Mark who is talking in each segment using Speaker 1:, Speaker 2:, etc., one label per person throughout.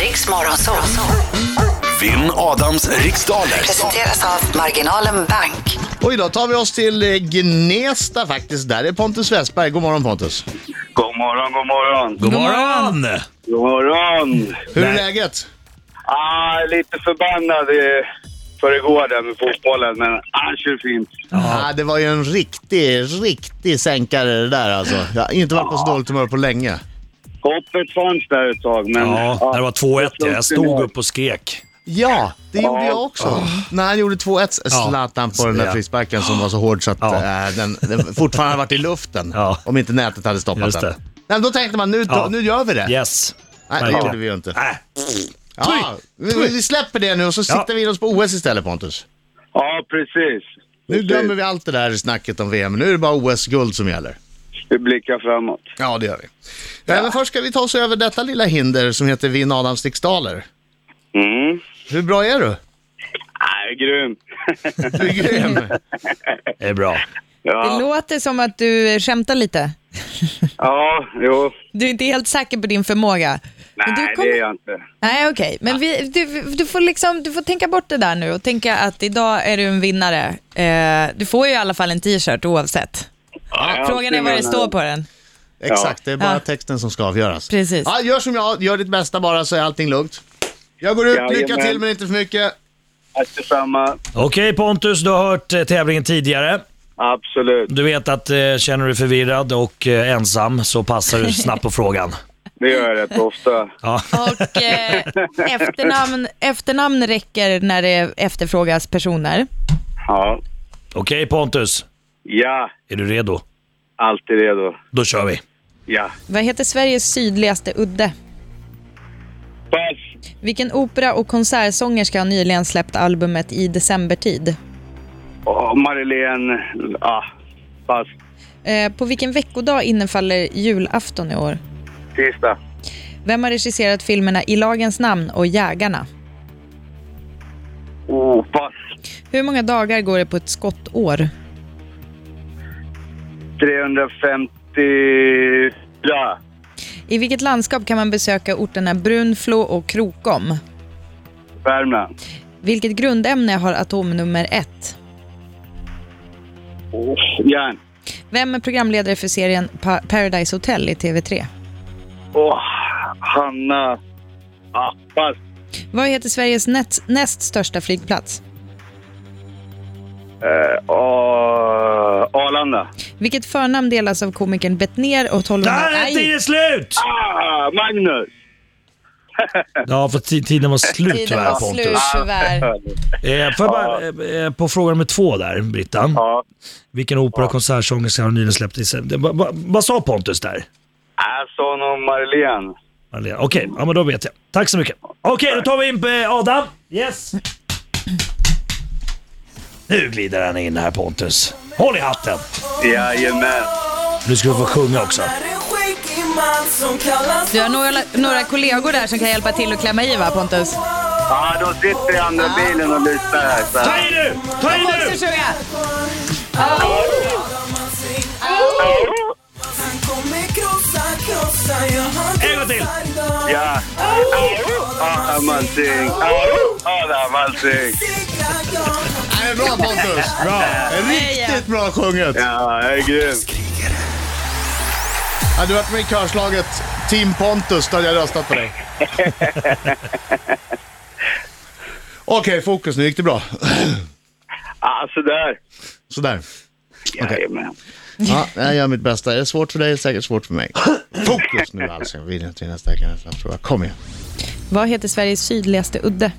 Speaker 1: Riks Morgonzoo.
Speaker 2: Vinn Adams riksdaler.
Speaker 1: Presenteras av Marginalen Bank.
Speaker 3: Och idag tar vi oss till eh, Gnesta faktiskt. Där är Pontus Westberg. God morgon Pontus.
Speaker 4: God morgon, god morgon.
Speaker 5: God morgon!
Speaker 4: God morgon.
Speaker 3: Hur är
Speaker 5: Nej.
Speaker 3: läget?
Speaker 4: Ah, lite förbannad eh, för igår där med fotbollen, men ah, kör fint.
Speaker 3: Ja. det var ju en riktig, riktig sänkare det där alltså. Jag har inte varit på så dåligt humör på länge.
Speaker 4: Hoppet fanns där ett tag, men...
Speaker 5: Ja,
Speaker 4: ah,
Speaker 5: det var 2-1. ja.
Speaker 4: det
Speaker 5: Jag stod
Speaker 4: var-
Speaker 5: upp och skrek.
Speaker 3: Ja, det gjorde jag också. När han gjorde 2-1, Zlatan på den där
Speaker 5: Ja.
Speaker 3: frisparken som var så hård så att
Speaker 5: Ja.
Speaker 3: eh, den, den fortfarande hade varit i luften.
Speaker 5: Ja.
Speaker 3: Om inte nätet hade stoppat
Speaker 5: Just
Speaker 3: den.
Speaker 5: det.
Speaker 3: Nej, men då tänkte man nu,
Speaker 5: Ja.
Speaker 3: nu gör vi det.
Speaker 5: Yes.
Speaker 3: Nej, det
Speaker 5: verkligen.
Speaker 3: gjorde vi ju inte.
Speaker 5: Nej.
Speaker 3: Ja, vi, vi släpper det nu och så siktar vi in oss på OS istället Pontus.
Speaker 4: Ja, precis.
Speaker 3: Nu glömmer vi allt det där snacket om VM. Nu är det bara OS-guld som gäller.
Speaker 4: Vi blickar framåt.
Speaker 3: Ja, det gör vi. Ja. Men först ska vi ta oss över detta lilla hinder som heter Vinn Adams riksdaler.
Speaker 4: Mm.
Speaker 3: Hur bra är du?
Speaker 4: Ah, grym.
Speaker 3: Du är grym.
Speaker 5: Det är bra.
Speaker 6: Det
Speaker 4: ja,
Speaker 6: låter som att du eh, skämtar lite.
Speaker 4: ja, jo.
Speaker 6: Du är inte helt säker på din förmåga. Men
Speaker 4: Nej,
Speaker 6: du kommer-
Speaker 4: det är jag inte.
Speaker 6: Nej, okej. Men vi, du, du, får liksom, du får tänka bort det där nu och tänka att idag är du en vinnare. Eh, du får ju i alla fall en t-shirt oavsett.
Speaker 4: Ja,
Speaker 6: Frågan är vad det står på den.
Speaker 3: Exakt, det är bara
Speaker 6: Ja.
Speaker 3: texten som ska avgöras.
Speaker 6: Precis.
Speaker 3: Ja, gör som jag, gör ditt bästa bara så är allting lugnt. Jag går ut, lycka
Speaker 4: Jajamän.
Speaker 3: till men inte för mycket.
Speaker 4: Att detsamma.
Speaker 5: Okej Pontus, du har hört eh, tävlingen tidigare.
Speaker 4: Absolut.
Speaker 5: Du vet att eh, känner du dig förvirrad och eh, ensam så passar du snabbt på frågan.
Speaker 4: Det gör jag rätt ofta.
Speaker 5: Ja.
Speaker 6: Och eh, efternamn, efternamn räcker när det efterfrågas personer.
Speaker 4: Ja.
Speaker 5: Okej Pontus,
Speaker 4: Ja,
Speaker 5: är du redo?
Speaker 4: alltid redo.
Speaker 5: Då kör vi.
Speaker 4: Ja.
Speaker 6: Vad heter Sveriges sydligaste udde?
Speaker 4: Pass.
Speaker 6: Vilken opera och konsertsångerska har nyligen släppt albumet I decembertid?
Speaker 4: Oh, Marilene. Ah, pass.
Speaker 6: Eh, på vilken veckodag innefaller julafton i år?
Speaker 4: Tisdag.
Speaker 6: Vem har regisserat filmerna I lagens namn och Jägarna?
Speaker 4: Oh, pass.
Speaker 6: Hur många dagar går det på ett skottår?
Speaker 4: 354.
Speaker 6: I vilket landskap kan man besöka orterna Brunflo och Krokom?
Speaker 4: Värmland.
Speaker 6: Vilket grundämne har atomnummer 1?
Speaker 4: Oh. Järn.
Speaker 6: Vem är programledare för serien pa- Paradise Hotel i TV3?
Speaker 4: Oh, Hanna. Ah, pass.
Speaker 6: Vad heter Sveriges nät- näst största flygplats?
Speaker 4: Eh, oh, Arlanda.
Speaker 6: Vilket förnamn delas av komikern Bettner och 1200...
Speaker 5: Där är
Speaker 6: Aj!
Speaker 5: tiden slut!
Speaker 4: Ah, Magnus.
Speaker 5: Ja, för ti- tiden var slut
Speaker 6: Tiden
Speaker 5: tyvärr
Speaker 6: var slut
Speaker 5: Pontus.
Speaker 6: tyvärr.
Speaker 5: Eh, Får jag bara, eh, eh, på fråga nummer två där, Britta.
Speaker 4: Ja.
Speaker 5: Vilken opera och konsertsångerska har nyligen släppt i sig? Vad va, vad sa Pontus där?
Speaker 4: Jag sa nog Marilene.
Speaker 5: Marlena. Okej, ja, men då vet jag. Tack så mycket. Okej, då tar vi in eh, Adam. Yes. Nu glider han in här Pontus. Håll i hatten.
Speaker 4: Jajamän.
Speaker 5: Nu ska du få sjunga också.
Speaker 6: Du har några, några kollegor där som kan hjälpa till att klämma i va Pontus?
Speaker 4: Ah, de sitter i andra bilen och lyssnar här. Så.
Speaker 5: Ta i nu! Ta i nu!
Speaker 6: måste sjunga!
Speaker 5: En gång till.
Speaker 4: Ja. Adam Alsing. Ah, Adam Alsing.
Speaker 3: Det är Äh, bra Pontus!
Speaker 5: Bra.
Speaker 3: Riktigt bra sjunget!
Speaker 4: Ja, jag är grym.
Speaker 3: Hade du varit med i körslaget Team Pontus då hade jag röstat på dig. Okej, fokus nu. Gick det bra?
Speaker 4: Ah, sådär.
Speaker 3: Sådär.
Speaker 4: Jajamän.
Speaker 3: Ja, jag gör mitt bästa. Är det svårt för dig är det säkert svårt för mig. Fokus nu alltså. Jag vinner till nästa vecka nästa tror jag. Kom igen.
Speaker 6: Vad heter Sveriges sydligaste udde?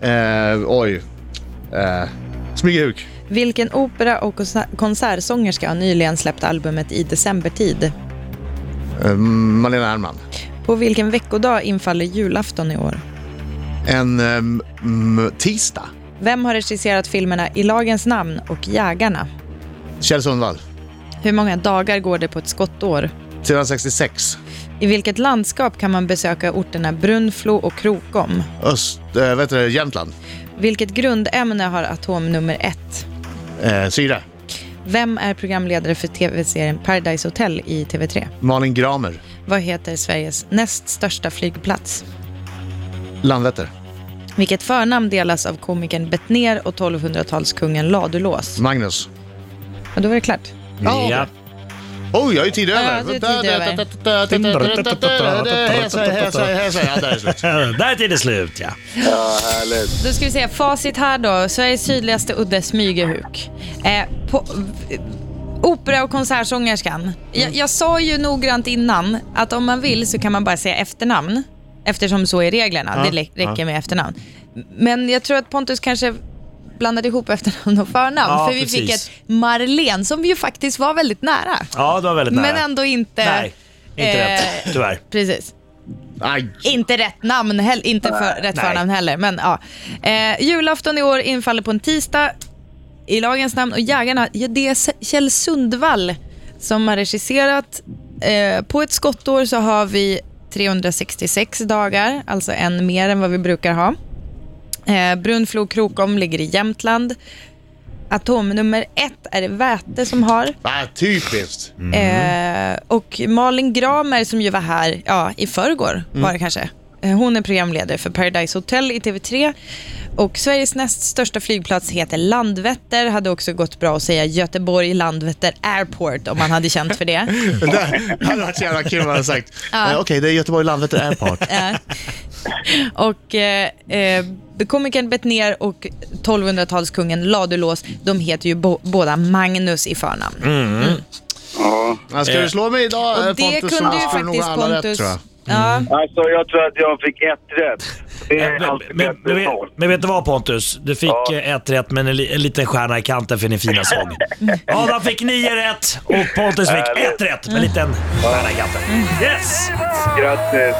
Speaker 3: Eh, oj. Eh, Smygehuk.
Speaker 6: Vilken opera och konser- konsertsångerska har nyligen släppt albumet I decembertid?
Speaker 3: Eh, Malena Ernman.
Speaker 6: På vilken veckodag infaller julafton i år?
Speaker 3: En ehm, mm, tisdag.
Speaker 6: Vem har regisserat filmerna I lagens namn och Jägarna?
Speaker 3: Kjell Sundvall.
Speaker 6: Hur många dagar går det på ett skottår?
Speaker 3: 366.
Speaker 6: I vilket landskap kan man besöka orterna Brunflo och Krokom?
Speaker 3: Öst... Eh, vad heter det? Jämtland.
Speaker 6: Vilket grundämne har atomnummer 1?
Speaker 3: Eh, Syra.
Speaker 6: Vem är programledare för tv-serien Paradise Hotel i TV3?
Speaker 3: Malin Gramer.
Speaker 6: Vad heter Sveriges näst största flygplats?
Speaker 3: Landvetter.
Speaker 6: Vilket förnamn delas av komikern Bettner och 1200-talskungen Ladulås?
Speaker 3: Magnus.
Speaker 6: Och då var det klart.
Speaker 3: Ja.
Speaker 5: Ja.
Speaker 3: Oj, jag är tid
Speaker 6: Ja,
Speaker 3: över.
Speaker 6: du är tid över.
Speaker 3: Här säger, här säger, här säger. Ja, där är slut.
Speaker 5: Där är det slut ja.
Speaker 4: Ja, härligt.
Speaker 6: Då ska vi se, facit här då. Sveriges sydligaste udde, Smygehuk. Eh, på, eh, opera och konsertsångerskan. Jag,
Speaker 5: Mm.
Speaker 6: jag sa ju noggrant innan att om man vill så kan man bara säga efternamn. Eftersom så är reglerna. det lä- räcker med efternamn. Men jag tror att Pontus kanske blandade ihop efternamn och förnamn.
Speaker 5: Ja,
Speaker 6: för vi fick
Speaker 5: precis.
Speaker 6: ett Marlene som ju faktiskt var väldigt nära.
Speaker 5: Ja, det var väldigt nära.
Speaker 6: Men ändå inte...
Speaker 5: Nej, inte
Speaker 6: eh,
Speaker 5: rätt. Tyvärr.
Speaker 6: Precis.
Speaker 3: Aj.
Speaker 6: Inte rätt namn heller, inte för, rätt
Speaker 5: nej.
Speaker 6: förnamn heller. Men, ja. eh, julafton i år infaller på en tisdag i lagens namn och Jägarna, ja, det är S- Kjell Sundvall som har regisserat. Eh, på ett skottår så har vi 366 dagar, alltså en mer än vad vi brukar ha. Eh, Brunflo Krokom ligger i Jämtland. Atomnummer ett är det Väte som har.
Speaker 3: Ah, typiskt.
Speaker 6: Eh, och Malin Gramer som ju var här ja, i förrgår
Speaker 3: Mm.
Speaker 6: var det kanske. Eh, Hon är programledare för Paradise Hotel i TV3. Och Sveriges näst största flygplats heter Landvetter. Hade också gått bra att säga Göteborg Landvetter Airport om man hade känt för det.
Speaker 3: Det där hade varit så jävla kul om man hade sagt. Eh, Okej, det är Göteborg-Landvetter Airport.
Speaker 6: Eh. och eh, eh, komikern Bettner och 1200-talskungen Ladulås, de heter ju bo- båda Magnus i förnamn.
Speaker 3: Mm.
Speaker 4: Ja.
Speaker 3: Ja, Ska du slå mig idag eh,
Speaker 6: Och det
Speaker 3: Pontus så
Speaker 6: kunde ju
Speaker 3: slår du nog
Speaker 6: faktiskt
Speaker 3: alla rätt
Speaker 6: Pontus...
Speaker 3: tror jag.
Speaker 6: ja.
Speaker 4: Alltså, jag tror att jag fick ett rätt. Det är
Speaker 5: Men,
Speaker 4: alltid
Speaker 5: men,
Speaker 4: bättre
Speaker 5: men,
Speaker 4: än
Speaker 5: men,
Speaker 4: noll.
Speaker 5: men vet du vad Pontus? Du fick
Speaker 4: Ja.
Speaker 5: eh, ett rätt men en, li, en liten stjärna i kanten för din fina sång. Adam fick nio rätt och Pontus fick
Speaker 4: Härligt.
Speaker 5: ett rätt med en liten stjärna i kanten.
Speaker 6: Mm.
Speaker 5: Yes!
Speaker 4: Grattis.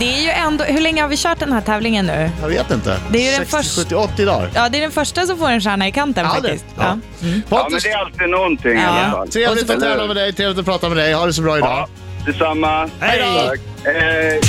Speaker 6: Det är ju ändå, hur länge har vi kört den här tävlingen nu?
Speaker 3: Jag vet inte.
Speaker 6: Det är ju den
Speaker 3: 60,
Speaker 6: första-
Speaker 3: 70, 80 dagar.
Speaker 6: Ja, det är den första som får en stjärna i kanten
Speaker 3: Ja, det-
Speaker 6: faktiskt.
Speaker 3: ja.
Speaker 6: Ja.
Speaker 4: Ja, men
Speaker 3: Pontus,
Speaker 4: det är alltid någonting i
Speaker 6: Ja.
Speaker 4: alla fall.
Speaker 3: trevligt att
Speaker 4: Eller
Speaker 3: tävla
Speaker 4: hur?
Speaker 3: med dig, trevligt att prata med dig. Ha det så bra idag.
Speaker 4: Ja, detsamma.
Speaker 5: Hej då.
Speaker 4: Tack. Eh, Hej.